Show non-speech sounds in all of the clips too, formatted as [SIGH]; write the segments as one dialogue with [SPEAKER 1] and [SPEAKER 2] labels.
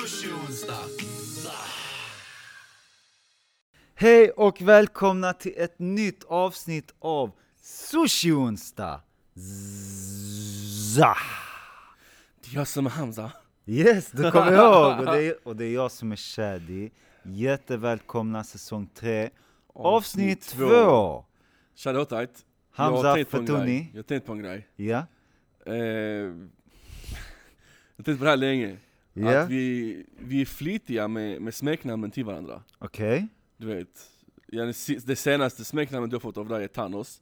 [SPEAKER 1] Halmstad.
[SPEAKER 2] Hej och välkomna till ett nytt avsnitt av Sushi Onsdag! Zah.
[SPEAKER 1] Jag som är Hamza.
[SPEAKER 2] Yes, du kommer ihåg! Och det, är, och det är jag som är Shadi. Jättevälkomna säsong 3, avsnitt
[SPEAKER 1] Avsnitt två.
[SPEAKER 2] 2!
[SPEAKER 1] Shadowtight.
[SPEAKER 2] Hamza Fatouni.
[SPEAKER 1] Jag har tänkt på en grej.
[SPEAKER 2] Ja,
[SPEAKER 1] Eh, [LAUGHS] jag har tänkt på det här länge.
[SPEAKER 2] Ja.
[SPEAKER 1] Att vi, vi är flitiga med, med smeknamnen till varandra.
[SPEAKER 2] okej.
[SPEAKER 1] Du vet, ja, det si- det senaste smeknamnet du har fått av dig
[SPEAKER 2] [LAUGHS]
[SPEAKER 1] är Thanos.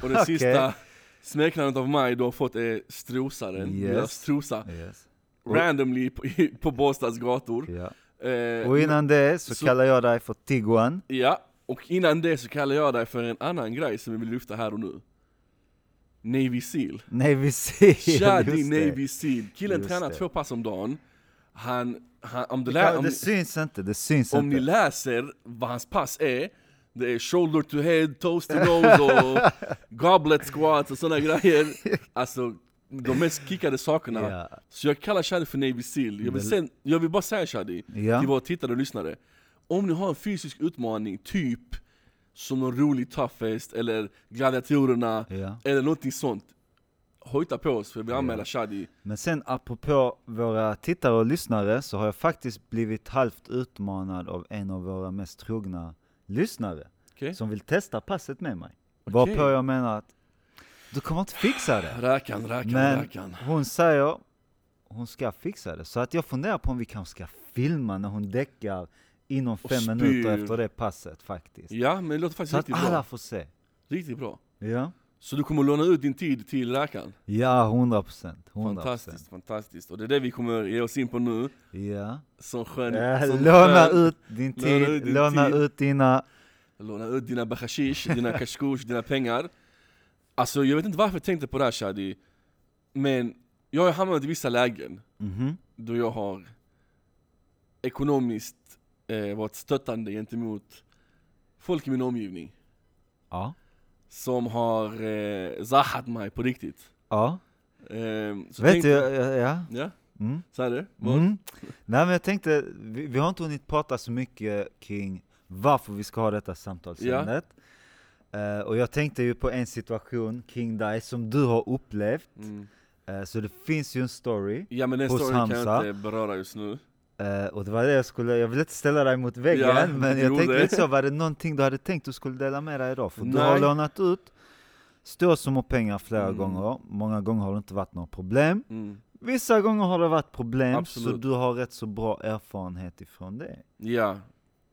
[SPEAKER 1] Och det
[SPEAKER 2] Okej.
[SPEAKER 1] sista smeknamnet av mig du har fått är Strosaren.
[SPEAKER 2] Yes.
[SPEAKER 1] Yes. Strosa.
[SPEAKER 2] Yes.
[SPEAKER 1] Randomly på, [LAUGHS] i- på Båstads gator.
[SPEAKER 2] Ja.
[SPEAKER 1] Eh,
[SPEAKER 2] Och innan det så
[SPEAKER 1] Så-
[SPEAKER 2] kallar jag dig för Tiguan.
[SPEAKER 1] Ja, och innan det så kallar jag dig för en annan grej som vi vill lyfta här och nu.
[SPEAKER 2] [LAUGHS]
[SPEAKER 1] Navy Seal.
[SPEAKER 2] Navy Seal!
[SPEAKER 1] Shadi
[SPEAKER 2] just det.
[SPEAKER 1] Navy Seal. Killen
[SPEAKER 2] Just
[SPEAKER 1] tränar
[SPEAKER 2] det.
[SPEAKER 1] två pass om dagen. Han, han om, du lä-
[SPEAKER 2] Ja,
[SPEAKER 1] om,
[SPEAKER 2] det syns inte, det syns
[SPEAKER 1] om ni
[SPEAKER 2] inte.
[SPEAKER 1] läser vad hans pass är, det är shoulder to head, toes to nose och
[SPEAKER 2] [LAUGHS]
[SPEAKER 1] goblet squats och sådana grejer. Alltså, de mest kickade sakerna.
[SPEAKER 2] Ja.
[SPEAKER 1] Så jag kallar Shadi för Navy Seal. Jag vill, sen, jag vill bara säga Shadi,
[SPEAKER 2] Ja.
[SPEAKER 1] till våra tittare och lyssnare. Om ni har en fysisk utmaning, typ som någon rolig toughest, eller gladiatorerna,
[SPEAKER 2] Ja.
[SPEAKER 1] eller någonting sånt. Hojta på oss, för jag vill anmäla Shadi.
[SPEAKER 2] Men sen apropå våra tittare och lyssnare så har jag faktiskt blivit halvt utmanad av en av våra mest trogna lyssnare
[SPEAKER 1] Okej?
[SPEAKER 2] som vill testa passet med mig. Varpå jag menar att du kommer inte fixa det.
[SPEAKER 1] Räkan, räkan,
[SPEAKER 2] Men
[SPEAKER 1] räkan.
[SPEAKER 2] hon säger hon ska fixa det. Så att jag funderar på om vi kanske ska filma när hon däckar inom fem
[SPEAKER 1] spyr.
[SPEAKER 2] minuter efter det passet faktiskt.
[SPEAKER 1] Ja, men det låter faktiskt
[SPEAKER 2] Så att
[SPEAKER 1] riktigt
[SPEAKER 2] alla
[SPEAKER 1] bra.
[SPEAKER 2] får se.
[SPEAKER 1] Riktigt bra.
[SPEAKER 2] Ja,
[SPEAKER 1] Så du kommer låna ut din tid till läkaren?
[SPEAKER 2] ja 100 procent. 100 procent.
[SPEAKER 1] Fantastiskt, fantastiskt. Och det är det vi kommer ge oss in på nu.
[SPEAKER 2] Ja.
[SPEAKER 1] Som skön...
[SPEAKER 2] Eh,
[SPEAKER 1] som
[SPEAKER 2] Låna
[SPEAKER 1] skön-
[SPEAKER 2] ut din
[SPEAKER 1] alltså Låna ut
[SPEAKER 2] tid,
[SPEAKER 1] din
[SPEAKER 2] låna
[SPEAKER 1] tid.
[SPEAKER 2] ut dina
[SPEAKER 1] Låna ut dina bakashish, dina kashkush, dina pengar. Alltså jag vet inte varför jag tänkte på det här Shadi. Men jag har hamnat i vissa lägen
[SPEAKER 2] Mhm.
[SPEAKER 1] då jag har ekonomiskt eh, varit stöttande gentemot folk i min omgivning.
[SPEAKER 2] Ja.
[SPEAKER 1] Som har eh, zahat mig på riktigt.
[SPEAKER 2] Ja.
[SPEAKER 1] Eh, så
[SPEAKER 2] Vet
[SPEAKER 1] tänkte-
[SPEAKER 2] du, ja. ja.
[SPEAKER 1] Ja,
[SPEAKER 2] Mm.
[SPEAKER 1] sa du? Vad?
[SPEAKER 2] Mm. Nej men jag tänkte, vi, vi har inte hunnit prata så mycket kring varför vi ska ha detta samtalsämnet. Eh, och jag tänkte ju på en situation kring dig som du har upplevt.
[SPEAKER 1] Mm.
[SPEAKER 2] Eh, så det finns ju en story.
[SPEAKER 1] Ja men den
[SPEAKER 2] Hos
[SPEAKER 1] storyn kan jag
[SPEAKER 2] Hamza.
[SPEAKER 1] inte beröra just nu.
[SPEAKER 2] Eh, och det var det jag skulle, jag ville inte ställa dig mot väggen,
[SPEAKER 1] Ja,
[SPEAKER 2] men
[SPEAKER 1] jo,
[SPEAKER 2] jag tänkte
[SPEAKER 1] det.
[SPEAKER 2] lite så, var det någonting du hade tänkt du skulle dela med dig idag? För du
[SPEAKER 1] Nej.
[SPEAKER 2] har lånat ut ståsummor pengar flera
[SPEAKER 1] Mm.
[SPEAKER 2] gånger, många gånger har det inte varit några problem.
[SPEAKER 1] Mm.
[SPEAKER 2] Vissa gånger har det varit problem, så
[SPEAKER 1] Absolut.
[SPEAKER 2] du har rätt så bra erfarenhet ifrån det.
[SPEAKER 1] Ja,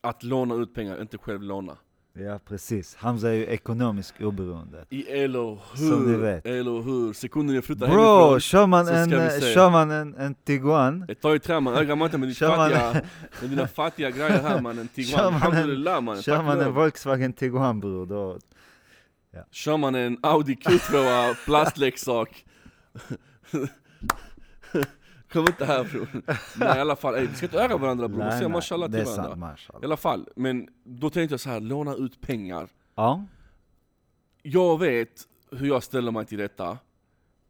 [SPEAKER 1] att låna ut pengar, inte själv låna.
[SPEAKER 2] Ja precis, Hamza är ju ekonomiskt oberoende.
[SPEAKER 1] I eller hur,
[SPEAKER 2] Som ni vet.
[SPEAKER 1] eller hur. Sekunden jag flyttar
[SPEAKER 2] Bro,
[SPEAKER 1] hemifrån,
[SPEAKER 2] kör man,
[SPEAKER 1] så ska
[SPEAKER 2] en,
[SPEAKER 1] vi
[SPEAKER 2] eh,
[SPEAKER 1] se.
[SPEAKER 2] kör man en, en Tiguan,
[SPEAKER 1] jag tar i trä man, ögar man inte med, ditt
[SPEAKER 2] Kör man-
[SPEAKER 1] fattiga, med dina fattiga grejer
[SPEAKER 2] [LAUGHS]
[SPEAKER 1] här mannen.
[SPEAKER 2] Kör
[SPEAKER 1] Tiguan,
[SPEAKER 2] man en-
[SPEAKER 1] alhamdulillah mannen.
[SPEAKER 2] kör
[SPEAKER 1] tack
[SPEAKER 2] man
[SPEAKER 1] och
[SPEAKER 2] en
[SPEAKER 1] lov.
[SPEAKER 2] Volkswagen Tiguan bror, då...
[SPEAKER 1] Kör man en Audi Q2 plastleksak. Kom inte här bror. Nej i alla fall, ey, vi ska inte öga varandra bror. Vi
[SPEAKER 2] Nej,
[SPEAKER 1] säger
[SPEAKER 2] nej,
[SPEAKER 1] mashallah
[SPEAKER 2] det
[SPEAKER 1] till
[SPEAKER 2] är sant,
[SPEAKER 1] varandra. I
[SPEAKER 2] mashallah.
[SPEAKER 1] alla fall, men då tänkte jag så här, låna ut pengar.
[SPEAKER 2] Ja,
[SPEAKER 1] jag vet hur jag ställer mig till detta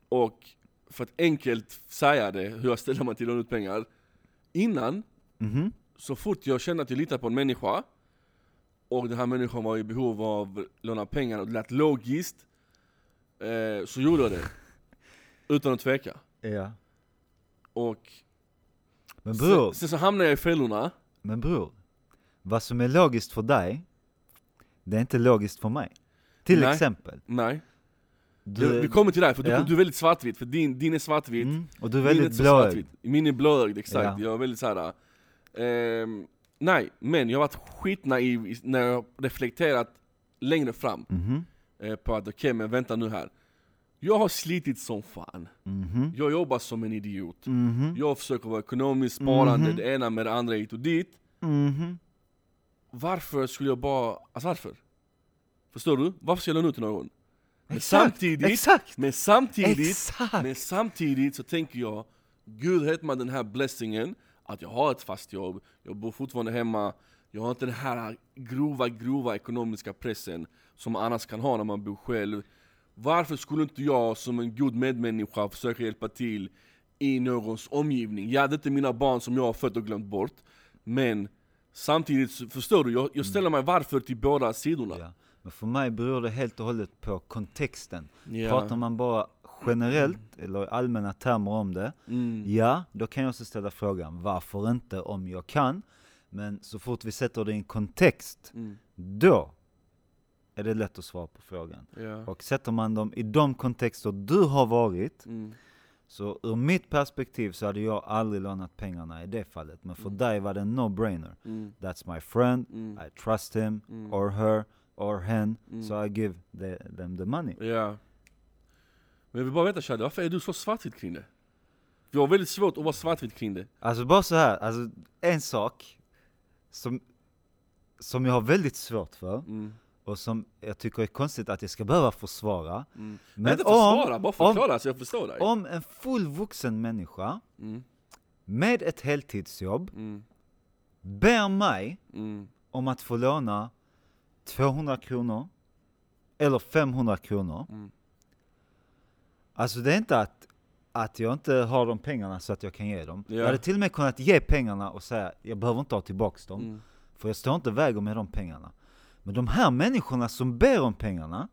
[SPEAKER 1] och för att enkelt säga det, hur jag ställer mig till att låna ut pengar. Innan,
[SPEAKER 2] mhm,
[SPEAKER 1] så fort jag känner att jag litar på en människa och den här människan var i behov av att låna pengar och det lät logiskt, eh, så gjorde
[SPEAKER 2] [LAUGHS]
[SPEAKER 1] jag det. Utan att tveka.
[SPEAKER 2] ja.
[SPEAKER 1] Och
[SPEAKER 2] Men bror,
[SPEAKER 1] sen, sen så hamnade jag i fällorna.
[SPEAKER 2] Men bror, vad som är logiskt för dig, det är inte logiskt för mig. Till
[SPEAKER 1] Nej.
[SPEAKER 2] exempel.
[SPEAKER 1] Nej,
[SPEAKER 2] Du,
[SPEAKER 1] vi kommer till dig för du,
[SPEAKER 2] ja.
[SPEAKER 1] du är väldigt svartvit, för din, din är svartvit.
[SPEAKER 2] mm, och du är
[SPEAKER 1] Min är
[SPEAKER 2] väldigt
[SPEAKER 1] så
[SPEAKER 2] blödig.
[SPEAKER 1] svartvit. Min är blöd, exakt.
[SPEAKER 2] Ja.
[SPEAKER 1] Jag är väldigt såhär... ehm, nej, men jag har varit skitnaiv i- när jag reflekterat längre fram
[SPEAKER 2] Mhm,
[SPEAKER 1] eh, på att okej, men vänta nu här. Jag har slitit som fan.
[SPEAKER 2] mhm,
[SPEAKER 1] Jag jobbar som en idiot.
[SPEAKER 2] mhm,
[SPEAKER 1] Jag försöker vara ekonomiskt sparande, det ena med det andra hit och dit.
[SPEAKER 2] mhm.
[SPEAKER 1] Varför skulle jag bara... Alltså varför? Förstår du? Varför ska jag låna ut till någon? Men
[SPEAKER 2] Exakt,
[SPEAKER 1] samtidigt,
[SPEAKER 2] exakt,
[SPEAKER 1] men samtidigt
[SPEAKER 2] exakt.
[SPEAKER 1] men samtidigt så tänker jag, Gud har gett mig den här blessingen att jag har ett fast jobb, jag bor fortfarande hemma, jag har inte den här grova, grova ekonomiska pressen som man annars kan ha när man bor själv. Varför skulle inte jag som en god medmänniska försöka hjälpa till i någons omgivning. Ja, det är inte mina barn som jag har fött och glömt bort. Men samtidigt, så- förstår du? Jag, jag ställer mig varför till båda sidorna.
[SPEAKER 2] Ja. Men för mig beror det helt och hållet på kontexten.
[SPEAKER 1] Ja.
[SPEAKER 2] Pratar man bara generellt, eller i allmänna termer om det,
[SPEAKER 1] Mm.
[SPEAKER 2] ja, då kan jag också ställa frågan varför inte om jag kan. Men så fort vi sätter det i en kontext,
[SPEAKER 1] Mm.
[SPEAKER 2] då är det lätt att svara på frågan.
[SPEAKER 1] Ja.
[SPEAKER 2] Och sätter man dem i de kontexter du har varit,
[SPEAKER 1] Mm.
[SPEAKER 2] så ur mitt perspektiv så hade jag aldrig lånat pengarna i det fallet. Men för
[SPEAKER 1] Mm.
[SPEAKER 2] dig var det en no-brainer. That's my friend, I trust him,
[SPEAKER 1] Mm.
[SPEAKER 2] or her, or hen, so I give the, them the money.
[SPEAKER 1] ja. Men jag vill bara veta Shadi, varför är du så svartvit kring det? Vi har väldigt svårt att vara svartvit kring det.
[SPEAKER 2] Alltså bara så här, alltså en sak som, som jag har väldigt svårt för,
[SPEAKER 1] Mm.
[SPEAKER 2] och som jag tycker är konstigt att jag ska behöva försvara.
[SPEAKER 1] Men Mm. inte försvara, bara
[SPEAKER 2] om,
[SPEAKER 1] förklara så jag förstår dig.
[SPEAKER 2] om en fullvuxen människa med ett heltidsjobb ber mig
[SPEAKER 1] Mm.
[SPEAKER 2] om att få låna 200 kronor eller 500 kronor. Alltså det är inte att, att jag inte har de pengarna så att jag kan ge dem.
[SPEAKER 1] Ja.
[SPEAKER 2] Jag hade till och med kunnat ge pengarna och säga jag behöver inte ha tillbaks dem. För jag står inte och väger med de pengarna. Men de här människorna som ber om pengarna,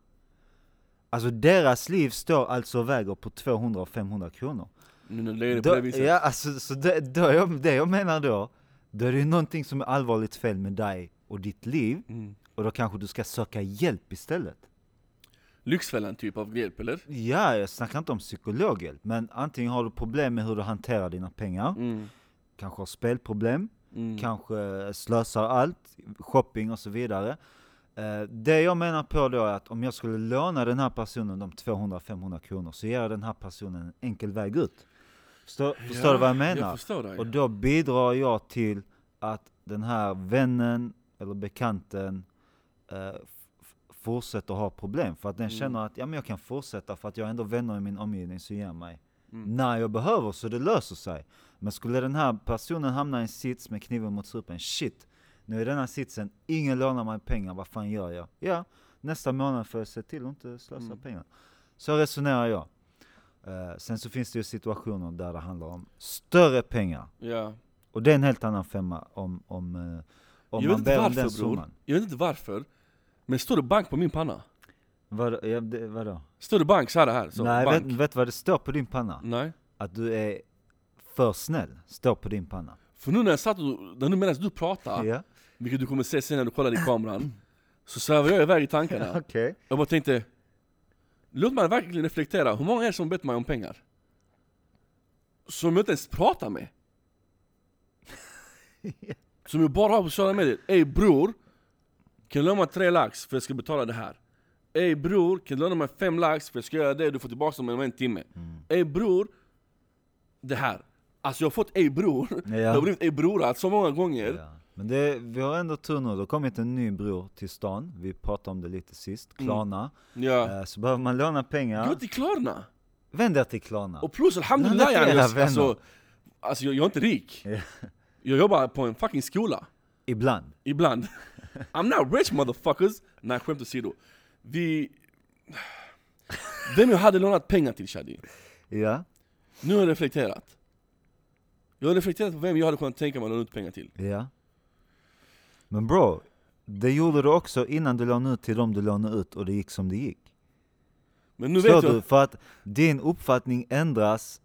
[SPEAKER 2] alltså deras liv står alltså och väger på 200 och 500 kronor.
[SPEAKER 1] Nu när det är på
[SPEAKER 2] Då,
[SPEAKER 1] det viset.
[SPEAKER 2] ja, alltså, så det, då jag, det jag menar då, då är det ju någonting som är allvarligt fel med dig och ditt liv,
[SPEAKER 1] Mm.
[SPEAKER 2] och då kanske du ska söka hjälp istället.
[SPEAKER 1] Lyxfällan typ av hjälp eller?
[SPEAKER 2] Ja, jag snackar inte om psykologhjälp, men antingen har du problem med hur du hanterar dina pengar,
[SPEAKER 1] Mm.
[SPEAKER 2] kanske har spelproblem, kanske slösar allt, shopping och så vidare. Eh, Det jag menar på då är att om jag skulle låna den här personen de 200-500 kronor så ger jag den här personen en enkel väg ut. Förstår, förstår du vad jag menar?
[SPEAKER 1] Jag förstår dig.
[SPEAKER 2] Och då bidrar jag till att den här vännen eller bekanten eh, f- f- fortsätter ha problem. För att den känner att ja, men jag kan fortsätta för att jag har ändå vänner i min omgivning som ger mig när jag behöver så det löser sig. Men skulle den här personen hamna i en sits med kniven mot strupen, shit, nu är den här sitsen, ingen lånar mig pengar, vad fan gör jag? Ja, nästa månad får jag se till att inte slösa pengar. Så resonerar jag. Eh, sen så finns det ju situationer där det handlar om större pengar.
[SPEAKER 1] Ja.
[SPEAKER 2] Och det är en helt annan femma om, om, eh, om
[SPEAKER 1] jag vet
[SPEAKER 2] man
[SPEAKER 1] inte
[SPEAKER 2] ber om den
[SPEAKER 1] varför bror.
[SPEAKER 2] summan.
[SPEAKER 1] Jag vet inte varför. Men står det bank på min panna?
[SPEAKER 2] Vad, ja, det, vadå?
[SPEAKER 1] Står det bank så här? här så,
[SPEAKER 2] Nej,
[SPEAKER 1] bank.
[SPEAKER 2] vet, vet vad det står på din panna?
[SPEAKER 1] Nej.
[SPEAKER 2] Att du är för snäll, står på din panna.
[SPEAKER 1] För nu när jag satt och, när nu medan du pratar,
[SPEAKER 2] Ja,
[SPEAKER 1] vilket du kommer se sen när du kollar i kameran, så svävar jag iväg i tankarna.
[SPEAKER 2] okej.
[SPEAKER 1] Jag bara tänkte, låt mig verkligen reflektera, hur många är det som bett mig om pengar? Som jag inte ens pratar med? Som jag bara har på sociala medier, ey bror, kan du låna mig tre lax för jag ska betala det här? Ey bror, kan du låna mig fem lax för jag ska göra det, du får tillbaka dem om en timme? Ey bror, det här. Alltså jag har fått ey bror, det har blivit ey brorat så många gånger.
[SPEAKER 2] Ja. Men det, vi har ändå tur nu, det har kommit en ny bror till stan. Vi pratade om det lite sist, Klarna.
[SPEAKER 1] Mm. Ja.
[SPEAKER 2] Eh, Så behöver man låna pengar,
[SPEAKER 1] Gå till Klarna!
[SPEAKER 2] vänd dig till Klarna.
[SPEAKER 1] Och plus alhamdulillah,
[SPEAKER 2] Den här
[SPEAKER 1] jag,
[SPEAKER 2] lilla
[SPEAKER 1] jag,
[SPEAKER 2] vännen.
[SPEAKER 1] alltså, alltså jag, jag är inte rik. Jag jobbar på en fucking skola,
[SPEAKER 2] Ibland. [LAUGHS]
[SPEAKER 1] ibland. I'm not rich motherfuckers! Nej skämt åsido. Vi... Vem jag hade lånat pengar till Shadi?
[SPEAKER 2] Ja,
[SPEAKER 1] Nu har jag reflekterat. Jag har reflekterat på vem jag hade kunnat tänka mig att låna ut pengar till.
[SPEAKER 2] ja. Men bro, det gjorde du också innan du lånade ut till dem du lånade ut och det gick som det gick.
[SPEAKER 1] Men nu
[SPEAKER 2] Förstår
[SPEAKER 1] vet
[SPEAKER 2] du?
[SPEAKER 1] jag,
[SPEAKER 2] För att din uppfattning ändras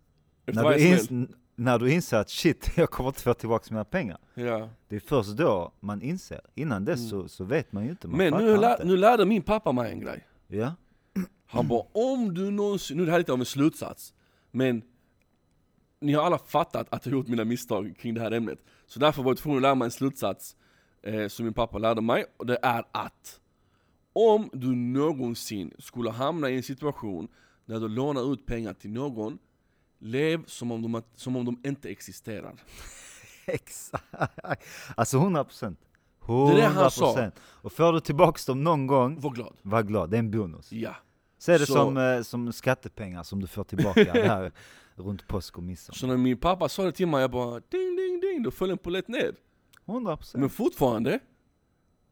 [SPEAKER 1] efter
[SPEAKER 2] när du,
[SPEAKER 1] varje
[SPEAKER 2] ins-
[SPEAKER 1] smäll.
[SPEAKER 2] n- när du inser att shit, [LAUGHS] jag kommer inte få tillbaka mina pengar.
[SPEAKER 1] Ja.
[SPEAKER 2] Det är först då man inser. Innan dess så, så vet man ju inte. Man
[SPEAKER 1] Mm. Men
[SPEAKER 2] fattar
[SPEAKER 1] nu, lär,
[SPEAKER 2] inte.
[SPEAKER 1] nu lärde min pappa mig en grej.
[SPEAKER 2] Ja, [LAUGHS]
[SPEAKER 1] Han bara om du någonsin, nu är det här lite av en slutsats, men ni har alla fattat att jag gjort mina misstag kring det här ämnet. Så därför var jag tvungen att lära mig en slutsats eh, som min pappa lärde mig, och det är att om du någonsin skulle hamna i en situation där du lånar ut pengar till någon, lev som om de, som om de inte existerar.
[SPEAKER 2] exakt. Alltså 100 procent.
[SPEAKER 1] är
[SPEAKER 2] 100
[SPEAKER 1] det han sa.
[SPEAKER 2] procent. Och får du tillbaka dem någon gång,
[SPEAKER 1] Var glad.
[SPEAKER 2] var glad. Det är en bonus.
[SPEAKER 1] Ja.
[SPEAKER 2] Se det
[SPEAKER 1] Så-
[SPEAKER 2] som, eh, som skattepengar som du får
[SPEAKER 1] [LAUGHS]
[SPEAKER 2] tillbaka här runt påsk och midsommar.
[SPEAKER 1] Så när min pappa sa det till mig, jag bara ding ding ding, då föll en polett ner.
[SPEAKER 2] 100 procent.
[SPEAKER 1] Men fortfarande,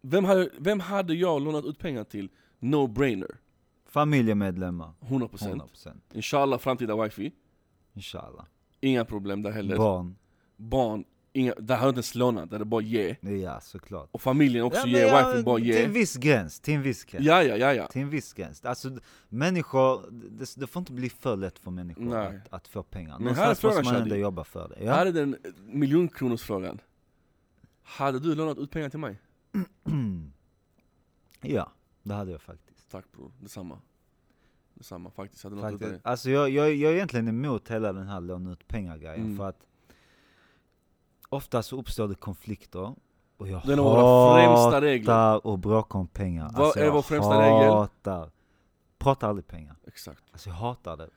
[SPEAKER 1] vem hade, vem hade jag lånat ut pengar till? No brainer.
[SPEAKER 2] Familjemedlemmar.
[SPEAKER 1] 100%.
[SPEAKER 2] 100 procent.
[SPEAKER 1] Inshallah framtida wifi.
[SPEAKER 2] Inshallah.
[SPEAKER 1] inga problem där heller.
[SPEAKER 2] Barn.
[SPEAKER 1] Barn, inga, där har jag inte ens lånat, där är det bara ge.
[SPEAKER 2] Ja, såklart.
[SPEAKER 1] Och familjen också
[SPEAKER 2] men
[SPEAKER 1] ge,
[SPEAKER 2] ja,
[SPEAKER 1] wifen bara
[SPEAKER 2] Till en
[SPEAKER 1] ge.
[SPEAKER 2] viss gräns, till en viss gräns.
[SPEAKER 1] Ja, ja, ja, ja.
[SPEAKER 2] Till en viss gräns. Alltså, d- människor, det, det får inte bli för lätt för människor
[SPEAKER 1] Nej.
[SPEAKER 2] att, att få pengar.
[SPEAKER 1] Men här är
[SPEAKER 2] Någonstans
[SPEAKER 1] frågan,
[SPEAKER 2] måste man
[SPEAKER 1] Shadi.
[SPEAKER 2] ändå jobba för det. Ja?
[SPEAKER 1] Här är den eh, miljonkronorsfrågan. Hade du lånat ut pengar till mig?
[SPEAKER 2] Mm. ja, det hade jag faktiskt.
[SPEAKER 1] Tack bror, detsamma. Detsamma faktiskt. Hade du lånat ut
[SPEAKER 2] faktiskt.
[SPEAKER 1] pengar?
[SPEAKER 2] Alltså, jag, jag, jag är egentligen emot hela den här låna ut pengar-grejen.
[SPEAKER 1] Mm.
[SPEAKER 2] För att ofta så uppstår det konflikter. Och jag
[SPEAKER 1] Det är en av våra främsta regler.
[SPEAKER 2] hatar att bråka om pengar. Alltså,
[SPEAKER 1] Vad är
[SPEAKER 2] jag
[SPEAKER 1] vår främsta regel?
[SPEAKER 2] hatar. Prata aldrig pengar.
[SPEAKER 1] Exakt.
[SPEAKER 2] Alltså jag hatar det.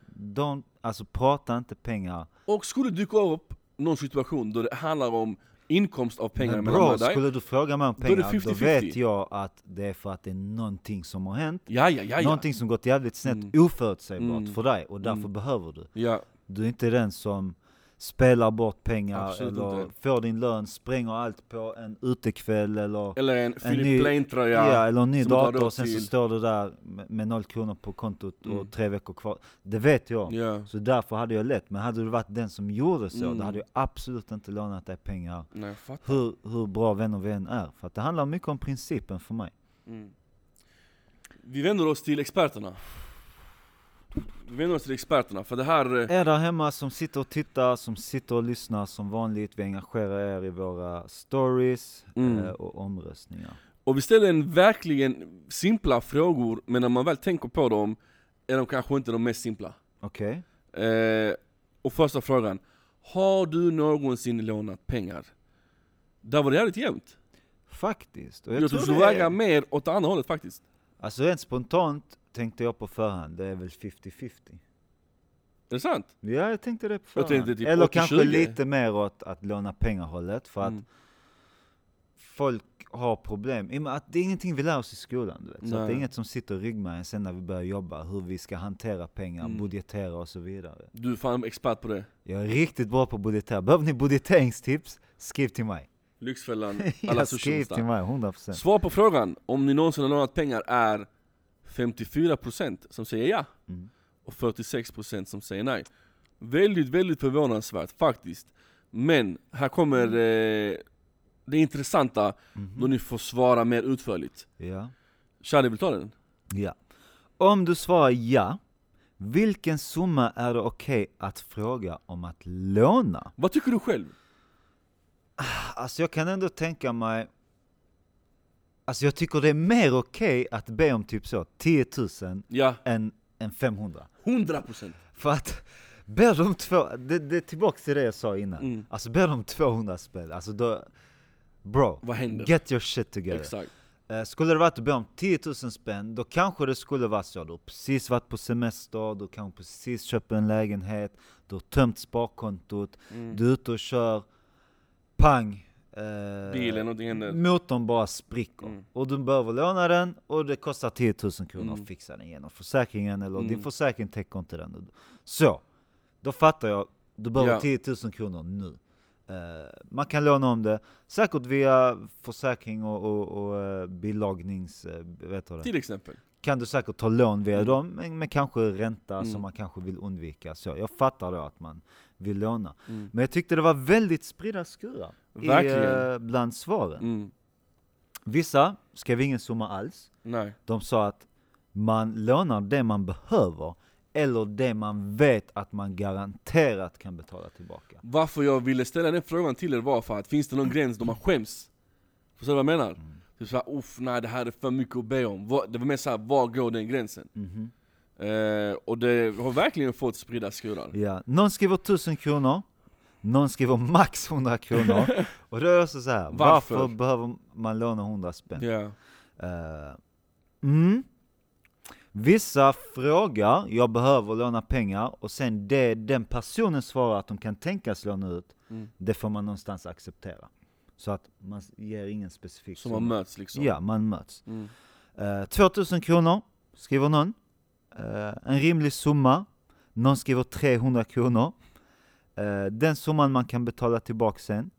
[SPEAKER 2] Don't, alltså prata inte pengar.
[SPEAKER 1] Och skulle det dyka upp någon situation då det handlar om inkomst av pengar
[SPEAKER 2] Men
[SPEAKER 1] mellan mig
[SPEAKER 2] bro,
[SPEAKER 1] och dig.
[SPEAKER 2] skulle du fråga mig om
[SPEAKER 1] är det
[SPEAKER 2] pengar, då,
[SPEAKER 1] 50-50.
[SPEAKER 2] vet jag att det är för att det är någonting som har hänt.
[SPEAKER 1] Ja, ja, ja, ja.
[SPEAKER 2] Någonting som gått jävligt snett, oförutsägbart
[SPEAKER 1] Mm.
[SPEAKER 2] för dig och därför behöver du.
[SPEAKER 1] ja.
[SPEAKER 2] Du är inte den som spelar bort pengar
[SPEAKER 1] Absolut
[SPEAKER 2] eller
[SPEAKER 1] inte.
[SPEAKER 2] får din lön, spränger allt på en utekväll eller
[SPEAKER 1] Eller en
[SPEAKER 2] ny-
[SPEAKER 1] Philip Plain-tröja.
[SPEAKER 2] Ja, eller en ny
[SPEAKER 1] som du har
[SPEAKER 2] dator
[SPEAKER 1] råd
[SPEAKER 2] och sen så
[SPEAKER 1] till.
[SPEAKER 2] står du där med, med noll kronor på kontot
[SPEAKER 1] Mm.
[SPEAKER 2] och tre veckor kvar. Det vet jag.
[SPEAKER 1] Ja,
[SPEAKER 2] Så därför hade jag lätt. Men hade du varit den som gjorde så,
[SPEAKER 1] Mm.
[SPEAKER 2] då hade jag absolut inte lånat dig pengar.
[SPEAKER 1] nej jag fattar.
[SPEAKER 2] Hur, hur bra vänner vi än är. För att det handlar mycket om principen för mig.
[SPEAKER 1] Mm. Vi vänder oss till experterna. Vi vänder oss till experterna, för det här... eh,
[SPEAKER 2] Er där hemma som sitter och tittar, som sitter och lyssnar som vanligt. Vi engagerar er i våra stories
[SPEAKER 1] Mm.
[SPEAKER 2] eh, och omröstningar.
[SPEAKER 1] Och vi ställer en verkligen simpla frågor, men när man väl tänker på dem är de kanske inte de mest simpla.
[SPEAKER 2] Okej?
[SPEAKER 1] Eh, och första frågan. Har du någonsin lånat pengar? Där var det jävligt jämnt.
[SPEAKER 2] Faktiskt. Och
[SPEAKER 1] Jag, tror du skulle
[SPEAKER 2] det är-
[SPEAKER 1] väga mer åt det andra hållet faktiskt.
[SPEAKER 2] Alltså rent spontant tänkte jag på förhand, det är väl 50-50.
[SPEAKER 1] Är det sant?
[SPEAKER 2] Ja, jag tänkte det på förhand.
[SPEAKER 1] tänkte typ
[SPEAKER 2] Eller
[SPEAKER 1] 80-20.
[SPEAKER 2] kanske lite mer åt att låna pengar-hållet, för att
[SPEAKER 1] Mm.
[SPEAKER 2] folk har problem. I och med att det är ingenting vi lär oss i skolan, du vet. Så att det
[SPEAKER 1] Nej.
[SPEAKER 2] är inget som sitter i ryggmärgen sen när vi börjar jobba, hur vi ska hantera pengar,
[SPEAKER 1] Mm.
[SPEAKER 2] budgetera och så vidare.
[SPEAKER 1] Du är fan expert på det.
[SPEAKER 2] Jag är riktigt bra på att budgetera. Behöver ni budgeteringstips? Skriv till mig.
[SPEAKER 1] Lyxfällan, [LAUGHS]
[SPEAKER 2] [LAUGHS]
[SPEAKER 1] alla
[SPEAKER 2] Jag skriv till
[SPEAKER 1] sushi
[SPEAKER 2] mig, 100%.
[SPEAKER 1] Svar på frågan om ni någonsin har lånat pengar är 54% som säger ja
[SPEAKER 2] Mm.
[SPEAKER 1] och 46% som säger nej. Väldigt, väldigt förvånansvärt faktiskt. Men här kommer eh, det intressanta
[SPEAKER 2] Mhm.
[SPEAKER 1] då ni får svara mer utförligt.
[SPEAKER 2] Ja.
[SPEAKER 1] Shadi vill ta den?
[SPEAKER 2] Ja. Om du svarar ja, vilken summa är det okej att fråga om att låna?
[SPEAKER 1] Vad tycker du själv?
[SPEAKER 2] Alltså jag kan ändå tänka mig... Alltså jag tycker det är mer okej att be om typ så 10 000
[SPEAKER 1] Ja,
[SPEAKER 2] än, än 500.
[SPEAKER 1] 100%!
[SPEAKER 2] För att [LAUGHS] ber de två... Det, det är tillbaks till det jag sa innan.
[SPEAKER 1] Mm.
[SPEAKER 2] Alltså ber de 200 spänn, alltså då... Bro,
[SPEAKER 1] Vad händer?
[SPEAKER 2] get your shit together.
[SPEAKER 1] Exakt.
[SPEAKER 2] Eh, Skulle det varit att be om 10 000 spänn, då kanske det skulle vara så. Du har precis varit på semester, du kanske precis köpt en lägenhet, du har tömt sparkontot,
[SPEAKER 1] Mm.
[SPEAKER 2] du är ute och kör, pang! Eh,
[SPEAKER 1] Bilen, någonting händer.
[SPEAKER 2] Motorn bara spricker.
[SPEAKER 1] Mm.
[SPEAKER 2] Och du behöver låna den och det kostar 10 000 kronor
[SPEAKER 1] Mm.
[SPEAKER 2] att fixa den genom försäkringen, eller din försäkring täcker inte den. Så, då fattar jag. Du behöver
[SPEAKER 1] Ja.
[SPEAKER 2] 10 000 kronor nu. Eh, man kan låna om det, säkert via försäkring och, och, och eh, belagnings... eh, vet du det?
[SPEAKER 1] Till exempel.
[SPEAKER 2] Kan du säkert ta lån
[SPEAKER 1] Mm.
[SPEAKER 2] via dem, men med kanske ränta som man kanske vill undvika. Så jag fattar då att man vill låna.
[SPEAKER 1] Mm.
[SPEAKER 2] Men jag tyckte det var väldigt spridda skurar i,
[SPEAKER 1] Verkligen.
[SPEAKER 2] eh, bland svaren.
[SPEAKER 1] Mm.
[SPEAKER 2] Vissa skrev ingen summa alls.
[SPEAKER 1] Nej.
[SPEAKER 2] De sa att man lånar det man behöver eller det man vet att man garanterat kan betala tillbaka.
[SPEAKER 1] Varför jag ville ställa den frågan till er var för att finns det någon gräns då man skäms? Förstår du vad jag menar?
[SPEAKER 2] Mm.
[SPEAKER 1] Typ såhär, uff nej det här är för mycket att be om. Vad- Det var mer såhär, var går den gränsen?
[SPEAKER 2] Mm-hmm.
[SPEAKER 1] Eh, och det har verkligen fått sprida skurar.
[SPEAKER 2] Ja. Någon skriver 1000 kronor, någon skriver max 100 kronor. Och då är jag så så här, varför?
[SPEAKER 1] Varför?
[SPEAKER 2] behöver man låna 100 spänn?
[SPEAKER 1] Ja.
[SPEAKER 2] Eh, mm. Vissa frågar, jag behöver låna pengar, och sen det den personen svarar att de kan tänkas låna ut,
[SPEAKER 1] Mm.
[SPEAKER 2] det får man någonstans acceptera. Så att man s- ger ingen specifik
[SPEAKER 1] Så man möts liksom.
[SPEAKER 2] Ja, man möts.
[SPEAKER 1] Mm.
[SPEAKER 2] Uh, 2000 kronor, skriver någon. Eh, en rimlig summa. Någon skriver 300 kronor. Eh, den summan man kan betala tillbaka sen.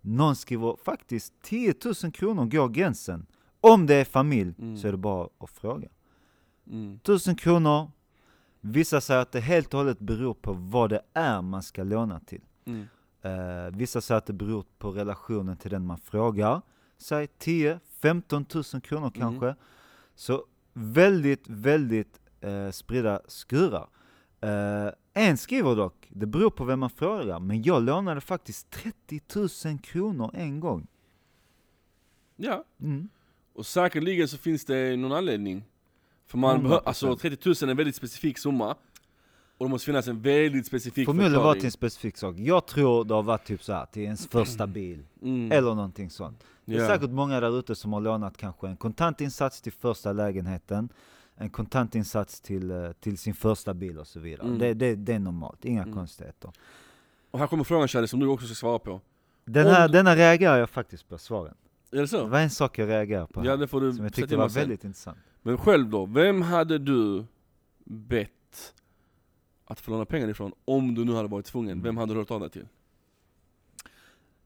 [SPEAKER 2] Någon skriver faktiskt 10 000 kronor går gränsen. Om det är familj
[SPEAKER 1] Mm.
[SPEAKER 2] så är det bara att fråga.
[SPEAKER 1] Mm.
[SPEAKER 2] 1000 kronor, Vissa säger att det helt och hållet beror på vad det är man ska låna till.
[SPEAKER 1] Mm.
[SPEAKER 2] Eh, vissa säger att det beror på relationen till den man frågar. Säg 10, 15 000 kronor kanske. Så väldigt, väldigt eh, spridda skurar. Eh, en skriver dock, det beror på vem man frågar, men jag lånade faktiskt 30 000 kronor en gång.
[SPEAKER 1] Ja,
[SPEAKER 2] Mm.
[SPEAKER 1] och säkerligen så finns det någon anledning. För man
[SPEAKER 2] 100%.
[SPEAKER 1] behöver, alltså 30 000 är en väldigt specifik summa. Och det måste finnas en väldigt specifik
[SPEAKER 2] Förmodligen var det
[SPEAKER 1] förklaring.
[SPEAKER 2] till en specifik sak. Jag tror det har varit typ så här, till ens första bil.
[SPEAKER 1] Mm.
[SPEAKER 2] Eller någonting sånt. Det är
[SPEAKER 1] Ja.
[SPEAKER 2] säkert många där ute som har lånat kanske en kontantinsats till första lägenheten, en kontantinsats till, eh, till sin första bil och så vidare.
[SPEAKER 1] Mm.
[SPEAKER 2] Det, det, det är normalt, inga konstigheter.
[SPEAKER 1] Och här kommer frågan Charlie som du också ska svara på.
[SPEAKER 2] Den
[SPEAKER 1] Om-
[SPEAKER 2] här, denna reagerar jag faktiskt på, svaren.
[SPEAKER 1] Är det
[SPEAKER 2] Det
[SPEAKER 1] så?
[SPEAKER 2] var en sak jag reagerade på,
[SPEAKER 1] Ja
[SPEAKER 2] här,
[SPEAKER 1] det får du
[SPEAKER 2] som jag
[SPEAKER 1] sätta
[SPEAKER 2] tyckte
[SPEAKER 1] in
[SPEAKER 2] var
[SPEAKER 1] mig sen.
[SPEAKER 2] väldigt intressant.
[SPEAKER 1] Men själv då, vem hade du bett att få låna pengar ifrån om du nu hade varit tvungen? Vem hade du hört av dig till?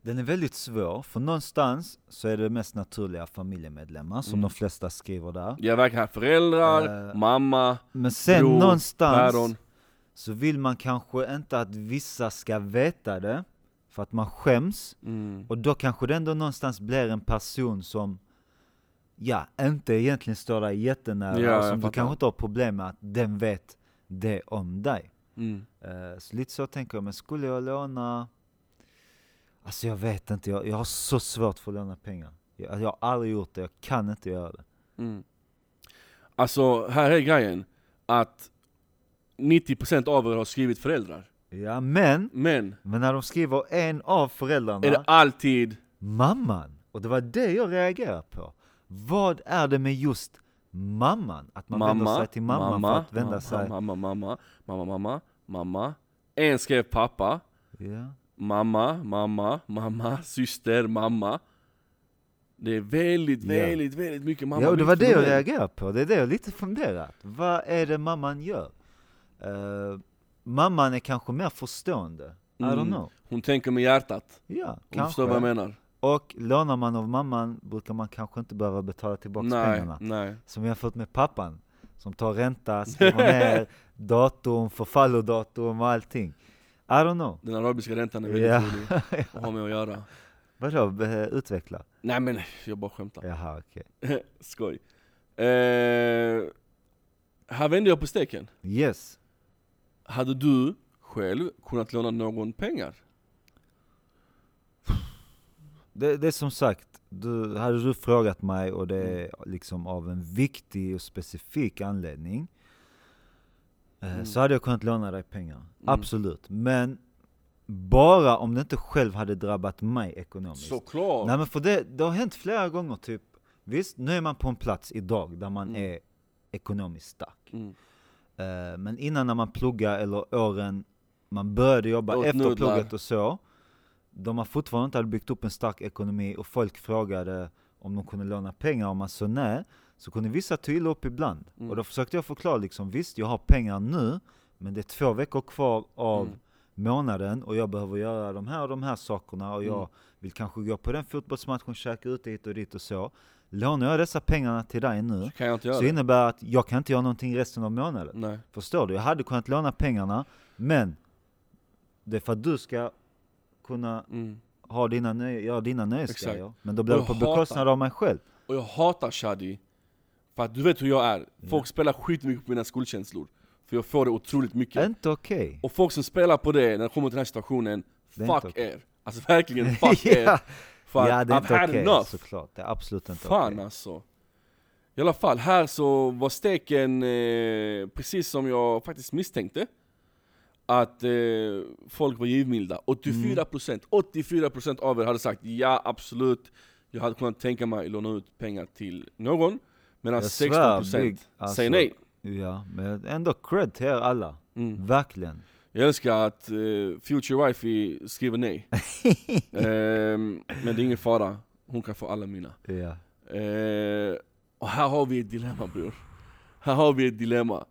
[SPEAKER 2] Den är väldigt svår, för någonstans så är det mest naturliga familjemedlemmar, som
[SPEAKER 1] Mm.
[SPEAKER 2] de flesta skriver där.
[SPEAKER 1] Jag verkar ha föräldrar,
[SPEAKER 2] Eh,
[SPEAKER 1] mamma,
[SPEAKER 2] Men sen
[SPEAKER 1] bror,
[SPEAKER 2] någonstans
[SPEAKER 1] päron.
[SPEAKER 2] så vill man kanske inte att vissa ska veta det, för att man skäms.
[SPEAKER 1] Mm.
[SPEAKER 2] Och då kanske det ändå någonstans blir en person som, ja, inte egentligen står dig jättenära,
[SPEAKER 1] Ja,
[SPEAKER 2] och
[SPEAKER 1] jag
[SPEAKER 2] som du
[SPEAKER 1] fattar.
[SPEAKER 2] kanske inte har problem med att den vet det om dig.
[SPEAKER 1] Mm.
[SPEAKER 2] Eh, Så lite så tänker jag, men skulle jag låna... Alltså jag vet inte, jag, jag har så svårt för att låna pengar. Jag, alltså, jag har aldrig gjort det, jag kan inte göra det.
[SPEAKER 1] Mm. Alltså, här är grejen. Att 90% av er har skrivit föräldrar.
[SPEAKER 2] Ja, men,
[SPEAKER 1] Men,
[SPEAKER 2] men när de skriver en av föräldrarna,
[SPEAKER 1] är det alltid...
[SPEAKER 2] mamman! Och det var det jag reagerade på. Vad är det med just mamman? Att man vänder sig till mamman för att vända
[SPEAKER 1] mamma,
[SPEAKER 2] sig...
[SPEAKER 1] mamma, mamma, mamma, mamma, mamma. En skrev pappa,
[SPEAKER 2] Ja.
[SPEAKER 1] mamma, mamma, mamma, syster, mamma. Det är väldigt,
[SPEAKER 2] Ja.
[SPEAKER 1] väldigt, väldigt mycket mamma.
[SPEAKER 2] ja, och det var det jag
[SPEAKER 1] mycket
[SPEAKER 2] reagerade på. Det är det jag lite funderat. Vad är det mamman gör? Eh, mamman är kanske mer förstående. I don't
[SPEAKER 1] Mm.
[SPEAKER 2] know.
[SPEAKER 1] Hon tänker med hjärtat.
[SPEAKER 2] Ja,
[SPEAKER 1] Hon förstår vad jag menar.
[SPEAKER 2] Och lånar man av mamman brukar man kanske inte behöva betala tillbaka
[SPEAKER 1] Nej,
[SPEAKER 2] pengarna.
[SPEAKER 1] nej.
[SPEAKER 2] Som jämfört med pappan, som tar ränta, skriver
[SPEAKER 1] [LAUGHS]
[SPEAKER 2] ner, datum, förfallodatum och allting. I don't know.
[SPEAKER 1] Den arabiska räntan är väldigt
[SPEAKER 2] Ja.
[SPEAKER 1] rolig
[SPEAKER 2] [LAUGHS]
[SPEAKER 1] att ha med att göra.
[SPEAKER 2] Vadå, eh, utveckla?
[SPEAKER 1] Nej men, jag bara skämtar.
[SPEAKER 2] Jaha, okej.
[SPEAKER 1] Skoj. Eh, här vänder jag på steken.
[SPEAKER 2] Yes.
[SPEAKER 1] Hade du själv kunnat låna någon pengar?
[SPEAKER 2] Det, det är som sagt, du, hade du frågat mig och det
[SPEAKER 1] Mm.
[SPEAKER 2] är liksom av en viktig och specifik anledning eh,
[SPEAKER 1] Mm.
[SPEAKER 2] Så hade jag kunnat låna dig pengar, absolut. Men bara om det inte själv hade drabbat mig ekonomiskt.
[SPEAKER 1] Såklart!
[SPEAKER 2] Nej men för det, det har hänt flera gånger typ Visst, nu är man på en plats idag där man
[SPEAKER 1] Mm.
[SPEAKER 2] är ekonomiskt stark.
[SPEAKER 1] Mm.
[SPEAKER 2] Eh, men innan när man pluggade eller åren man började jobba
[SPEAKER 1] Åt
[SPEAKER 2] efter
[SPEAKER 1] nudlar.
[SPEAKER 2] plugget och så, de har fortfarande inte hade byggt upp en stark ekonomi och folk frågade om de kunde låna pengar om man sa nej, så kunde vissa ta illa upp ibland.
[SPEAKER 1] Mm.
[SPEAKER 2] Och då försökte jag förklara liksom, visst jag har pengar nu, men det är två veckor kvar av
[SPEAKER 1] Mm.
[SPEAKER 2] månaden och jag behöver göra de här och de här sakerna och jag
[SPEAKER 1] Mm.
[SPEAKER 2] vill kanske gå på den fotbollsmatchen, käka ute hit och dit och så. Lånar jag dessa pengarna till dig nu,
[SPEAKER 1] Så kan jag inte göra
[SPEAKER 2] så
[SPEAKER 1] det.
[SPEAKER 2] innebär det att jag kan inte göra någonting resten av månaden.
[SPEAKER 1] Nej.
[SPEAKER 2] Förstår du? Jag hade kunnat låna pengarna, men det är för att du ska kunna
[SPEAKER 1] Mm.
[SPEAKER 2] ha dina, nö- göra dina nöjesgrejer. Men då blir
[SPEAKER 1] Och
[SPEAKER 2] det på
[SPEAKER 1] jag hatar-
[SPEAKER 2] bekostnad av mig själv.
[SPEAKER 1] Och jag hatar Shadi, för att du vet hur jag
[SPEAKER 2] Mm.
[SPEAKER 1] är. Folk spelar skitmycket på mina skuldkänslor. För jag får det otroligt mycket.
[SPEAKER 2] Inte okej.
[SPEAKER 1] Och folk som spelar på det när det kommer till den här situationen,
[SPEAKER 2] Det är
[SPEAKER 1] fuck
[SPEAKER 2] inte okej.
[SPEAKER 1] er! Alltså
[SPEAKER 2] [LAUGHS]
[SPEAKER 1] verkligen fuck er!
[SPEAKER 2] ja.
[SPEAKER 1] För
[SPEAKER 2] ja, det är
[SPEAKER 1] I've
[SPEAKER 2] inte
[SPEAKER 1] had
[SPEAKER 2] okej
[SPEAKER 1] enough!
[SPEAKER 2] såklart. Det är absolut inte okej.
[SPEAKER 1] Fan alltså! I alla fall, här så var steken eh, precis som jag faktiskt misstänkte. Att eh, folk var givmilda.
[SPEAKER 2] Mm.
[SPEAKER 1] 84%, 84% av er hade sagt ja absolut, jag hade kunnat tänka mig att låna ut pengar till någon. Medan
[SPEAKER 2] Jag svär,
[SPEAKER 1] 16%
[SPEAKER 2] Big, alltså.
[SPEAKER 1] säger nej.
[SPEAKER 2] Ja, men ändå cred till er alla.
[SPEAKER 1] Mm.
[SPEAKER 2] Verkligen.
[SPEAKER 1] Jag älskar att eh, Future Wifey
[SPEAKER 2] [LAUGHS]
[SPEAKER 1] skriver nej. Ehm, men det är ingen fara, hon kan få alla mina.
[SPEAKER 2] Ja.
[SPEAKER 1] Eh, och här har vi ett dilemma bror. Här har vi ett dilemma.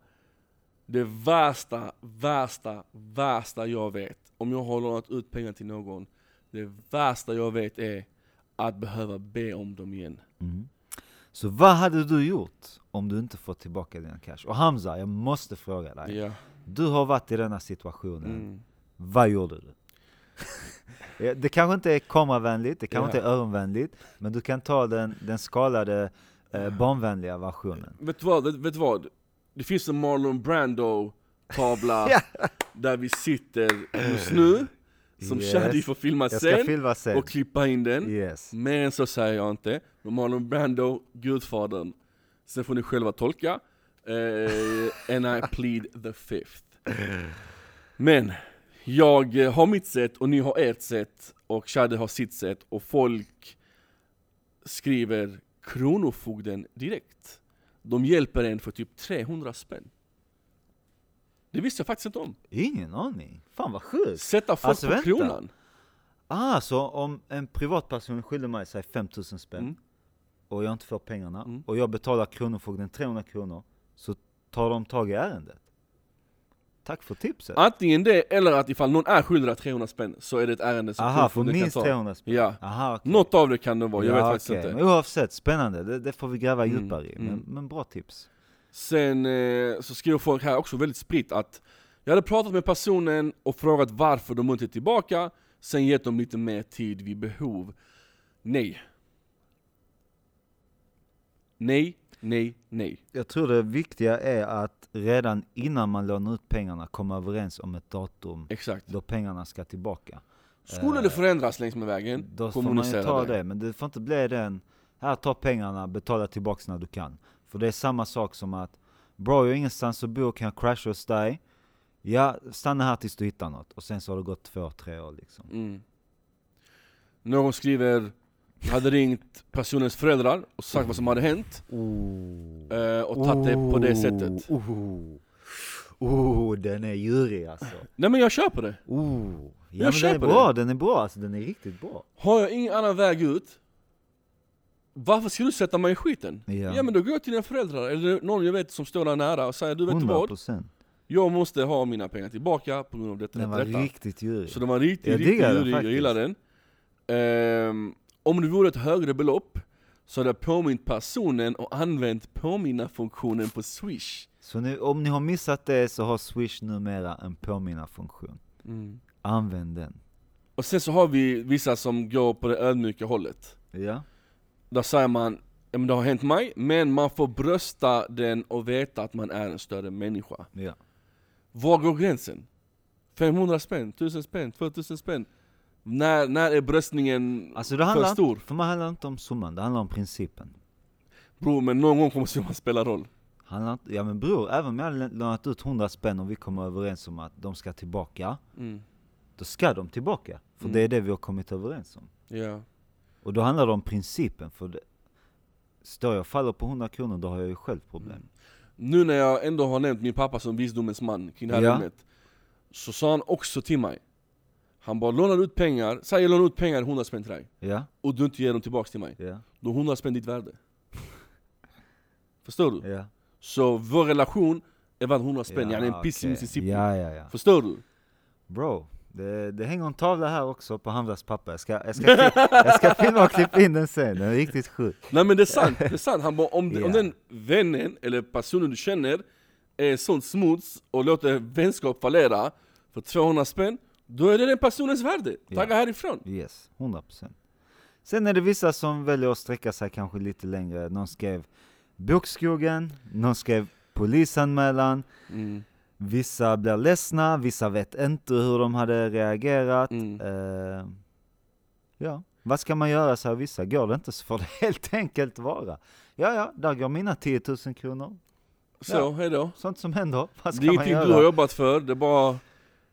[SPEAKER 1] Det värsta, värsta, värsta jag vet, om jag har lånat ut pengar till någon, det värsta jag vet är att behöva be om dem igen.
[SPEAKER 2] Mm. Så vad hade du gjort om du inte fått tillbaka dina cash? Och Hamza, jag måste fråga dig.
[SPEAKER 1] Ja.
[SPEAKER 2] Du har varit i denna situationen.
[SPEAKER 1] Mm.
[SPEAKER 2] Vad gjorde du? [LAUGHS] Ja, det kanske inte är kameravänligt, det kanske inte är öronvänligt, men du kan ta den, den skalade eh, barnvänliga versionen.
[SPEAKER 1] Vet du vad? Vet, vet du vad? Det finns en Marlon
[SPEAKER 2] [LAUGHS]
[SPEAKER 1] Brando-tavla
[SPEAKER 2] Ja.
[SPEAKER 1] där vi sitter just nu, som
[SPEAKER 2] Yes.
[SPEAKER 1] Shadi får filma
[SPEAKER 2] Jag ska
[SPEAKER 1] sen,
[SPEAKER 2] filma sen.
[SPEAKER 1] och klippa in den.
[SPEAKER 2] Yes.
[SPEAKER 1] Men så säger jag inte. Men Marlon Brando, Gudfadern. Sen får ni själva tolka. Eh, and I plead the fifth. Men, jag eh, har mitt sätt och ni har ert sätt. Och Shadi har sitt sätt. Och folk skriver Kronofogden direkt. De hjälper en för typ 300 spänn. Det visste jag faktiskt inte om.
[SPEAKER 2] Ingen aning. Fan vad sjukt.
[SPEAKER 1] Sätta folk
[SPEAKER 2] Alltså,
[SPEAKER 1] på
[SPEAKER 2] vänta.
[SPEAKER 1] kronan.
[SPEAKER 2] Ah, så om en privatperson skyller mig säg 5000 spänn
[SPEAKER 1] Mm.
[SPEAKER 2] och jag inte får pengarna
[SPEAKER 1] Mm.
[SPEAKER 2] och jag betalar Kronofogden 300 kronor så tar de tag i ärendet. Tack för tipset.
[SPEAKER 1] Antingen det, eller att ifall någon är skyldig 300 spänn så är det ett ärende som
[SPEAKER 2] Aha, för
[SPEAKER 1] Kronofogden Alltså, kan
[SPEAKER 2] minst
[SPEAKER 1] ta.
[SPEAKER 2] 300 spänn.
[SPEAKER 1] Ja.
[SPEAKER 2] Aha, okej.
[SPEAKER 1] Något av det kan det vara, jag vet
[SPEAKER 2] Ja,
[SPEAKER 1] faktiskt
[SPEAKER 2] okej.
[SPEAKER 1] inte.
[SPEAKER 2] Men oavsett, spännande. Det, det får vi gräva
[SPEAKER 1] Mm,
[SPEAKER 2] djupare i. Men,
[SPEAKER 1] mm.
[SPEAKER 2] men bra tips.
[SPEAKER 1] Sen eh, så skriver folk här också väldigt spritt att jag hade pratat med personen och frågat varför de inte är tillbaka, sen gett dem lite mer tid vid behov. Nej. Nej, nej, nej.
[SPEAKER 2] Jag tror det viktiga är att redan innan man lånar ut pengarna komma överens om ett datum
[SPEAKER 1] Exakt.
[SPEAKER 2] då pengarna ska tillbaka.
[SPEAKER 1] Skulle det förändras längs med vägen,
[SPEAKER 2] Eh, Då får man ju
[SPEAKER 1] kommunicera
[SPEAKER 2] ta
[SPEAKER 1] det.
[SPEAKER 2] det, men det får inte bli den här ta pengarna, betala tillbaks när du kan. För det är samma sak som att bra, jag har ingenstans att bo, kan jag crasha hos dig? Ja, stanna här tills du hittar något. Och sen så har det gått två, tre år liksom.
[SPEAKER 1] Mm. Någon skriver, hade ringt personens föräldrar och sagt vad som hade hänt
[SPEAKER 2] Oh.
[SPEAKER 1] eh, och tagit det på det sättet.
[SPEAKER 2] Oh, oh den är djurig alltså.
[SPEAKER 1] Nej men jag köper det.
[SPEAKER 2] Oh. Ja,
[SPEAKER 1] Jag
[SPEAKER 2] men den är
[SPEAKER 1] köper
[SPEAKER 2] bra, den är bra alltså, den är riktigt bra.
[SPEAKER 1] Har jag ingen annan väg ut, varför ska du sätta mig i skiten?
[SPEAKER 2] Ja.
[SPEAKER 1] Ja, men då går jag till dina föräldrar eller någon jag vet som står där nära och säger du vet du
[SPEAKER 2] 100
[SPEAKER 1] vad?
[SPEAKER 2] procent.
[SPEAKER 1] Jag måste ha mina pengar tillbaka på grund av detta,
[SPEAKER 2] Den
[SPEAKER 1] detta,
[SPEAKER 2] var
[SPEAKER 1] detta.
[SPEAKER 2] riktigt djurig.
[SPEAKER 1] Så den var riktigt,
[SPEAKER 2] Jag
[SPEAKER 1] riktigt
[SPEAKER 2] diggar den
[SPEAKER 1] lurig, jag
[SPEAKER 2] faktiskt.
[SPEAKER 1] gillar den. Ehm, om det vore ett högre belopp så hade jag påmint personen och använt påminna-funktionen på swish.
[SPEAKER 2] Så nu, om ni har missat det så har Swish numera en påminna-funktion. Använd den.
[SPEAKER 1] Och sen så har vi vissa som går på det ödmjuka hållet.
[SPEAKER 2] Ja.
[SPEAKER 1] Där säger man, ja men det har hänt mig, men man får brösta den och veta att man är en större människa.
[SPEAKER 2] ja.
[SPEAKER 1] Var går gränsen? 500 spänn, 1000 spänn, 2000 spänn? När, när är bröstningen
[SPEAKER 2] Alltså det handlar,
[SPEAKER 1] för stor?
[SPEAKER 2] för mig handlar det inte om summan, det handlar om principen.
[SPEAKER 1] Bror, men någon gång kommer summan spela roll.
[SPEAKER 2] Handlar inte, ja men bror, även om jag hade lånat ut 100 spänn och vi kommer överens om att de ska tillbaka,
[SPEAKER 1] Mm.
[SPEAKER 2] då ska de tillbaka. För det är det vi har kommit överens om.
[SPEAKER 1] Ja.
[SPEAKER 2] Och då handlar det om principen, för det, står jag och faller på 100 kronor, då har jag ju själv problem.
[SPEAKER 1] Nu när jag ändå har nämnt min pappa som visdomens man kring det här
[SPEAKER 2] Ja.
[SPEAKER 1] ämnet Så sa han också till mig Han bara lånar ut pengar, säg jag lånar ut pengar 100 spänn till dig
[SPEAKER 2] Ja,
[SPEAKER 1] Och du inte ger dem tillbaks till mig
[SPEAKER 2] ja,
[SPEAKER 1] Då är 100 spänn
[SPEAKER 2] [LAUGHS]
[SPEAKER 1] ditt värde Förstår du?
[SPEAKER 2] ja.
[SPEAKER 1] Så vår relation är värd 100 spänn, ja, en piss i
[SPEAKER 2] okej.
[SPEAKER 1] Mississippi
[SPEAKER 2] Ja, ja, ja.
[SPEAKER 1] Förstår du?
[SPEAKER 2] Bro, det, det hänger en tavla här också på Hamzas pappa. Jag ska, jag, ska,
[SPEAKER 1] [LAUGHS]
[SPEAKER 2] fi- jag ska filma och klippa in den sen, den är riktigt sjuk.
[SPEAKER 1] Nej men det är sant, det är sant. Han bara, om,
[SPEAKER 2] Ja.
[SPEAKER 1] om den vännen eller personen du känner är sånt smuts och låter vänskap fallera för 200 spänn Då är det den personens värde, tagga härifrån
[SPEAKER 2] Yes, 100%. Sen är det vissa som väljer att sträcka sig kanske lite längre. Någon skrev bokskogen, någon skrev polisanmälan,
[SPEAKER 1] mm.
[SPEAKER 2] vissa blir ledsna, vissa vet inte hur de hade reagerat.
[SPEAKER 1] Mm.
[SPEAKER 2] Eh, ja, vad ska man göra, säger vissa. Går det inte så får det [LAUGHS] helt enkelt vara. Ja, ja, där går mina 10 000 kronor.
[SPEAKER 1] Så,
[SPEAKER 2] Ja.
[SPEAKER 1] hejdå
[SPEAKER 2] Sånt som händer, [LAUGHS] vad
[SPEAKER 1] Det
[SPEAKER 2] ska
[SPEAKER 1] är
[SPEAKER 2] man
[SPEAKER 1] ingenting
[SPEAKER 2] göra?
[SPEAKER 1] du har jobbat för, det är bara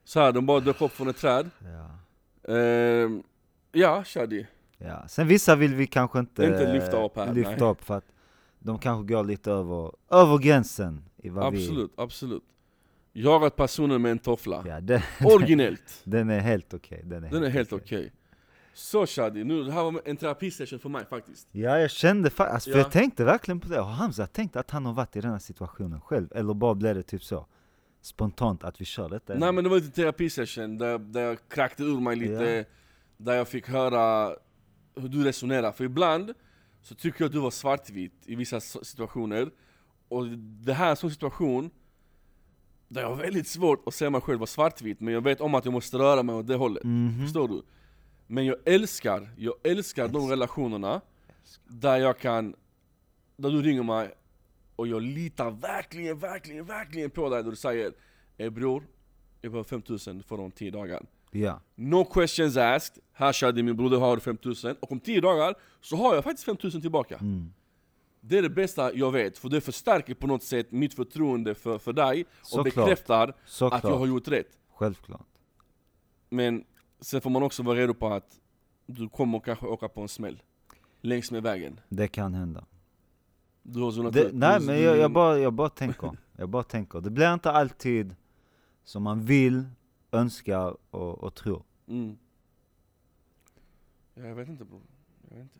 [SPEAKER 1] så här, de bara dök upp från ett träd
[SPEAKER 2] Ja.
[SPEAKER 1] Ehm, Ja, Shadi
[SPEAKER 2] Ja. Sen vissa vill vi kanske inte, eh,
[SPEAKER 1] Inte lyfta upp här,
[SPEAKER 2] lyfta
[SPEAKER 1] nej.
[SPEAKER 2] upp för att de kanske går lite över, över gränsen i vad
[SPEAKER 1] absolut, absolut Jagat personen med en toffla,
[SPEAKER 2] vi... Ja, den, [LAUGHS]
[SPEAKER 1] [LAUGHS] originellt
[SPEAKER 2] den är helt okej. Den är
[SPEAKER 1] Den är helt
[SPEAKER 2] okej.
[SPEAKER 1] okej Så Shadi, nu, det här var en terapisession för mig faktiskt
[SPEAKER 2] Ja, jag kände faktiskt, alltså, för
[SPEAKER 1] Ja.
[SPEAKER 2] jag tänkte verkligen på det. Har Hamza tänkt att han har varit i den här situationen själv? Eller bara blev det typ så spontant att vi kör detta?
[SPEAKER 1] Nej men det var inte en terapisession där, där jag kräkte ur mig lite, där jag fick höra hur du resonerar. För ibland så tycker jag att du var svartvit i vissa s- situationer. Och det här är en sån situation där jag har väldigt svårt att se mig själv vara svartvit, men jag vet om att jag måste röra mig åt det hållet.
[SPEAKER 2] Mm. Mhm. Mm-hmm.
[SPEAKER 1] Förstår du? Men jag älskar, jag älskar de relationerna där jag kan, där du ringer mig och jag litar verkligen, verkligen, verkligen på dig då du säger eh, bror, jag behöver 5000 för de 10 dagar.
[SPEAKER 2] Ja.
[SPEAKER 1] No questions asked, här körde min broder, har du 5000 Och om 10 dagar så har jag faktiskt 5000 tillbaka
[SPEAKER 2] Mm.
[SPEAKER 1] Det är det bästa jag vet, för det förstärker på något sätt mitt förtroende för, för dig Och
[SPEAKER 2] Såklart.
[SPEAKER 1] bekräftar
[SPEAKER 2] Såklart.
[SPEAKER 1] att jag har gjort rätt
[SPEAKER 2] Självklart.
[SPEAKER 1] Men sen får man också vara redo på att du kommer kanske åka på en smäll Längs med vägen
[SPEAKER 2] Det kan hända.
[SPEAKER 1] Du har zonat
[SPEAKER 2] Det,
[SPEAKER 1] ut.
[SPEAKER 2] nej
[SPEAKER 1] Du-
[SPEAKER 2] men
[SPEAKER 1] du-
[SPEAKER 2] jag, jag, bara, jag bara tänker. Jag bara tänker. Det blir inte alltid som man vill, önskar och, och tror.
[SPEAKER 1] Mm. Ja, Jag vet inte bror, jag vet inte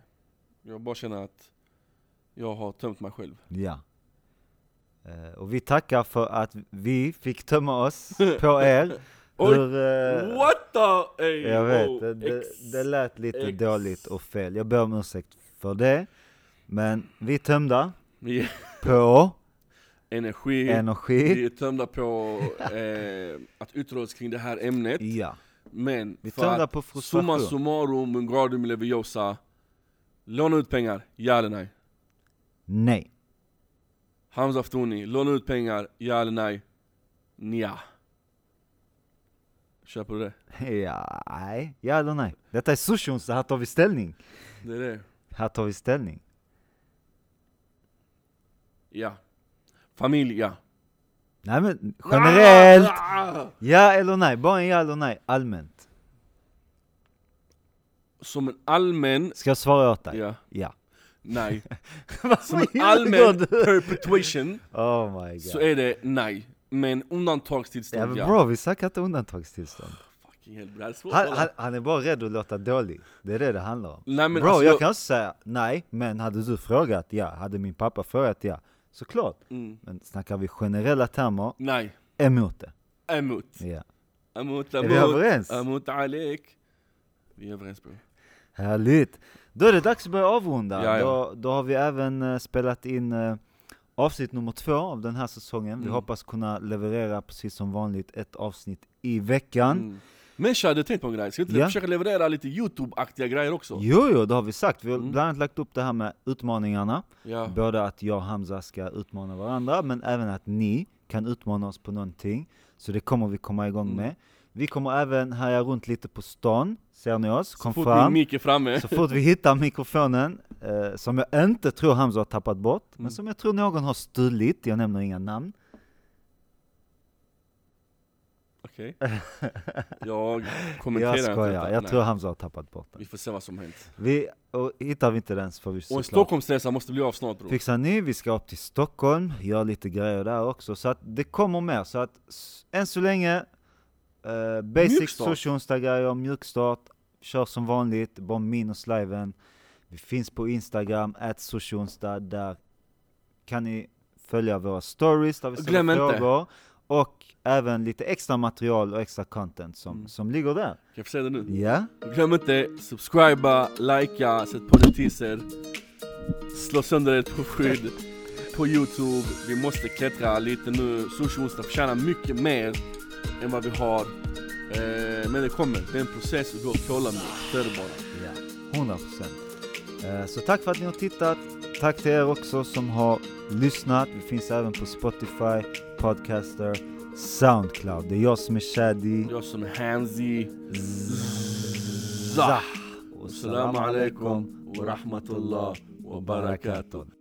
[SPEAKER 1] Jag bara känner att jag har tömt mig själv
[SPEAKER 2] Ja. Eh, och vi tackar för att vi fick tömma
[SPEAKER 1] [LAUGHS]
[SPEAKER 2] oss på er.
[SPEAKER 1] Oj.
[SPEAKER 2] Hur, eh,
[SPEAKER 1] What the... Ey,
[SPEAKER 2] Jag vet,
[SPEAKER 1] wow.
[SPEAKER 2] det, det,
[SPEAKER 1] Ex-
[SPEAKER 2] det lät lite
[SPEAKER 1] ex-
[SPEAKER 2] dåligt och fel. Jag ber om ursäkt för det. Men vi är tömda
[SPEAKER 1] Vi-
[SPEAKER 2] på
[SPEAKER 1] Energi, vi
[SPEAKER 2] energi.
[SPEAKER 1] är tömda på eh, att yttra oss kring det här ämnet
[SPEAKER 2] Ja,
[SPEAKER 1] Men
[SPEAKER 2] vi är
[SPEAKER 1] för
[SPEAKER 2] tömda
[SPEAKER 1] att
[SPEAKER 2] på
[SPEAKER 1] summa
[SPEAKER 2] frustration.
[SPEAKER 1] summarum, Mungardum Leviosa Låna ut pengar, ja eller nej?
[SPEAKER 2] Nej.
[SPEAKER 1] Hamza Aftouni, låna ut pengar, ja eller nej? Nja Köper du det?
[SPEAKER 2] Ja, nej. Ja eller nej. Detta är sushun, så här tar vi ställning.
[SPEAKER 1] Det är det
[SPEAKER 2] Här tar vi ställning.
[SPEAKER 1] Ja Familj, ja
[SPEAKER 2] Nej men generellt.
[SPEAKER 1] Ah!
[SPEAKER 2] Ja eller nej. Bara en ja eller nej. Allmänt.
[SPEAKER 1] Som en allmän...
[SPEAKER 2] Ska jag svara åt dig?
[SPEAKER 1] Ja, [LAUGHS]
[SPEAKER 2] Ja. [LAUGHS]
[SPEAKER 1] nej Som
[SPEAKER 2] Varför
[SPEAKER 1] en
[SPEAKER 2] gör du
[SPEAKER 1] allmän
[SPEAKER 2] det? [LAUGHS]
[SPEAKER 1] perpetuation
[SPEAKER 2] Oh my god.
[SPEAKER 1] så är det nej. Men
[SPEAKER 2] Ja,
[SPEAKER 1] undantagstillstånd
[SPEAKER 2] men
[SPEAKER 1] ja.
[SPEAKER 2] bra, vi snackar inte undantagstillstånd.
[SPEAKER 1] Fucking hell, det här är svårt.
[SPEAKER 2] Han, han, han är bara rädd att låta dålig. Det är det det handlar om.
[SPEAKER 1] Nej, men
[SPEAKER 2] Bro,
[SPEAKER 1] alltså,
[SPEAKER 2] jag
[SPEAKER 1] jag-
[SPEAKER 2] kan också säga nej, men hade du frågat ja, hade min pappa frågat ja, såklart.
[SPEAKER 1] Mm.
[SPEAKER 2] Men snackar vi generella termer,
[SPEAKER 1] Nej,
[SPEAKER 2] emot det.
[SPEAKER 1] emot.
[SPEAKER 2] Ja.
[SPEAKER 1] Emot, emot.
[SPEAKER 2] vi överens?
[SPEAKER 1] Emot Alek. Vi är överens bror.
[SPEAKER 2] Härligt! Då är det dags att börja avrunda.
[SPEAKER 1] Ja, ja.
[SPEAKER 2] Då, då har vi även eh, spelat in eh, avsnitt nummer två av den här säsongen. Vi
[SPEAKER 1] Mm.
[SPEAKER 2] hoppas kunna leverera, precis som vanligt, ett avsnitt i veckan.
[SPEAKER 1] Mm. Men Shah, du tänkt på en grej. Ska vi inte
[SPEAKER 2] Ja.
[SPEAKER 1] försöka leverera lite YouTube-aktiga grejer också?
[SPEAKER 2] Jo, jo, det har vi sagt. Vi har
[SPEAKER 1] Mm.
[SPEAKER 2] bland annat lagt upp det här med utmaningarna.
[SPEAKER 1] Ja.
[SPEAKER 2] Både att jag och Hamza ska utmana varandra, men även att ni kan utmana oss på någonting. Så det kommer vi komma igång
[SPEAKER 1] Mm.
[SPEAKER 2] med. Vi kommer även härja runt lite på stan. Ser ni oss? Kom
[SPEAKER 1] Så fort min
[SPEAKER 2] fram.
[SPEAKER 1] mick är framme.
[SPEAKER 2] så fort vi hittar mikrofonen, eh, som jag inte tror Hamza har tappat bort, men
[SPEAKER 1] Mm.
[SPEAKER 2] som jag tror någon har stulit. Jag nämner inga namn.
[SPEAKER 1] Okej. Jag kommenterar
[SPEAKER 2] Jag
[SPEAKER 1] inte
[SPEAKER 2] skojar.
[SPEAKER 1] detta.
[SPEAKER 2] Jag
[SPEAKER 1] Nej.
[SPEAKER 2] tror Hamza har tappat bort den.
[SPEAKER 1] Vi får se vad som har hänt.
[SPEAKER 2] Vi, och hittar vi inte den så får vi
[SPEAKER 1] Och en
[SPEAKER 2] såklart
[SPEAKER 1] Stockholmsresa måste bli av snart bror.
[SPEAKER 2] Fixar ni, vi ska upp till Stockholm, göra lite grejer där också. Så att det kommer mer. Så att s- än så länge, eh, basic
[SPEAKER 1] Mjukstart.
[SPEAKER 2] sushi onsdagar, mjukstart, kör som vanligt, bara minus liven. Vi finns på Instagram, at sushionsdag, där kan ni följa våra stories där vi
[SPEAKER 1] Och
[SPEAKER 2] ställer
[SPEAKER 1] glöm inte.
[SPEAKER 2] frågor. Och även lite extra material och extra content som,
[SPEAKER 1] Mm.
[SPEAKER 2] som ligger där.
[SPEAKER 1] Kan jag få säga det nu?
[SPEAKER 2] Ja,
[SPEAKER 1] Glöm inte subscriba, likea, sätt på notiser Slå sönder ert skydd på youtube Vi måste klättra lite nu, Sushi Onsdag förtjänar mycket mer än vad vi har eh, Men det kommer, det är en process och du har tålamod, så är det bara
[SPEAKER 2] Ja, 100 procent. Eh, Så tack för att ni har tittat. Tack till er också som har lyssnat. Vi finns även på Spotify, Podcaster, Soundcloud. Det är jag som är Shadi.
[SPEAKER 1] Jag som är Hanzi
[SPEAKER 2] Zah.
[SPEAKER 1] Zah! Assalamu alaikum wa rahmatullah wa barakatuh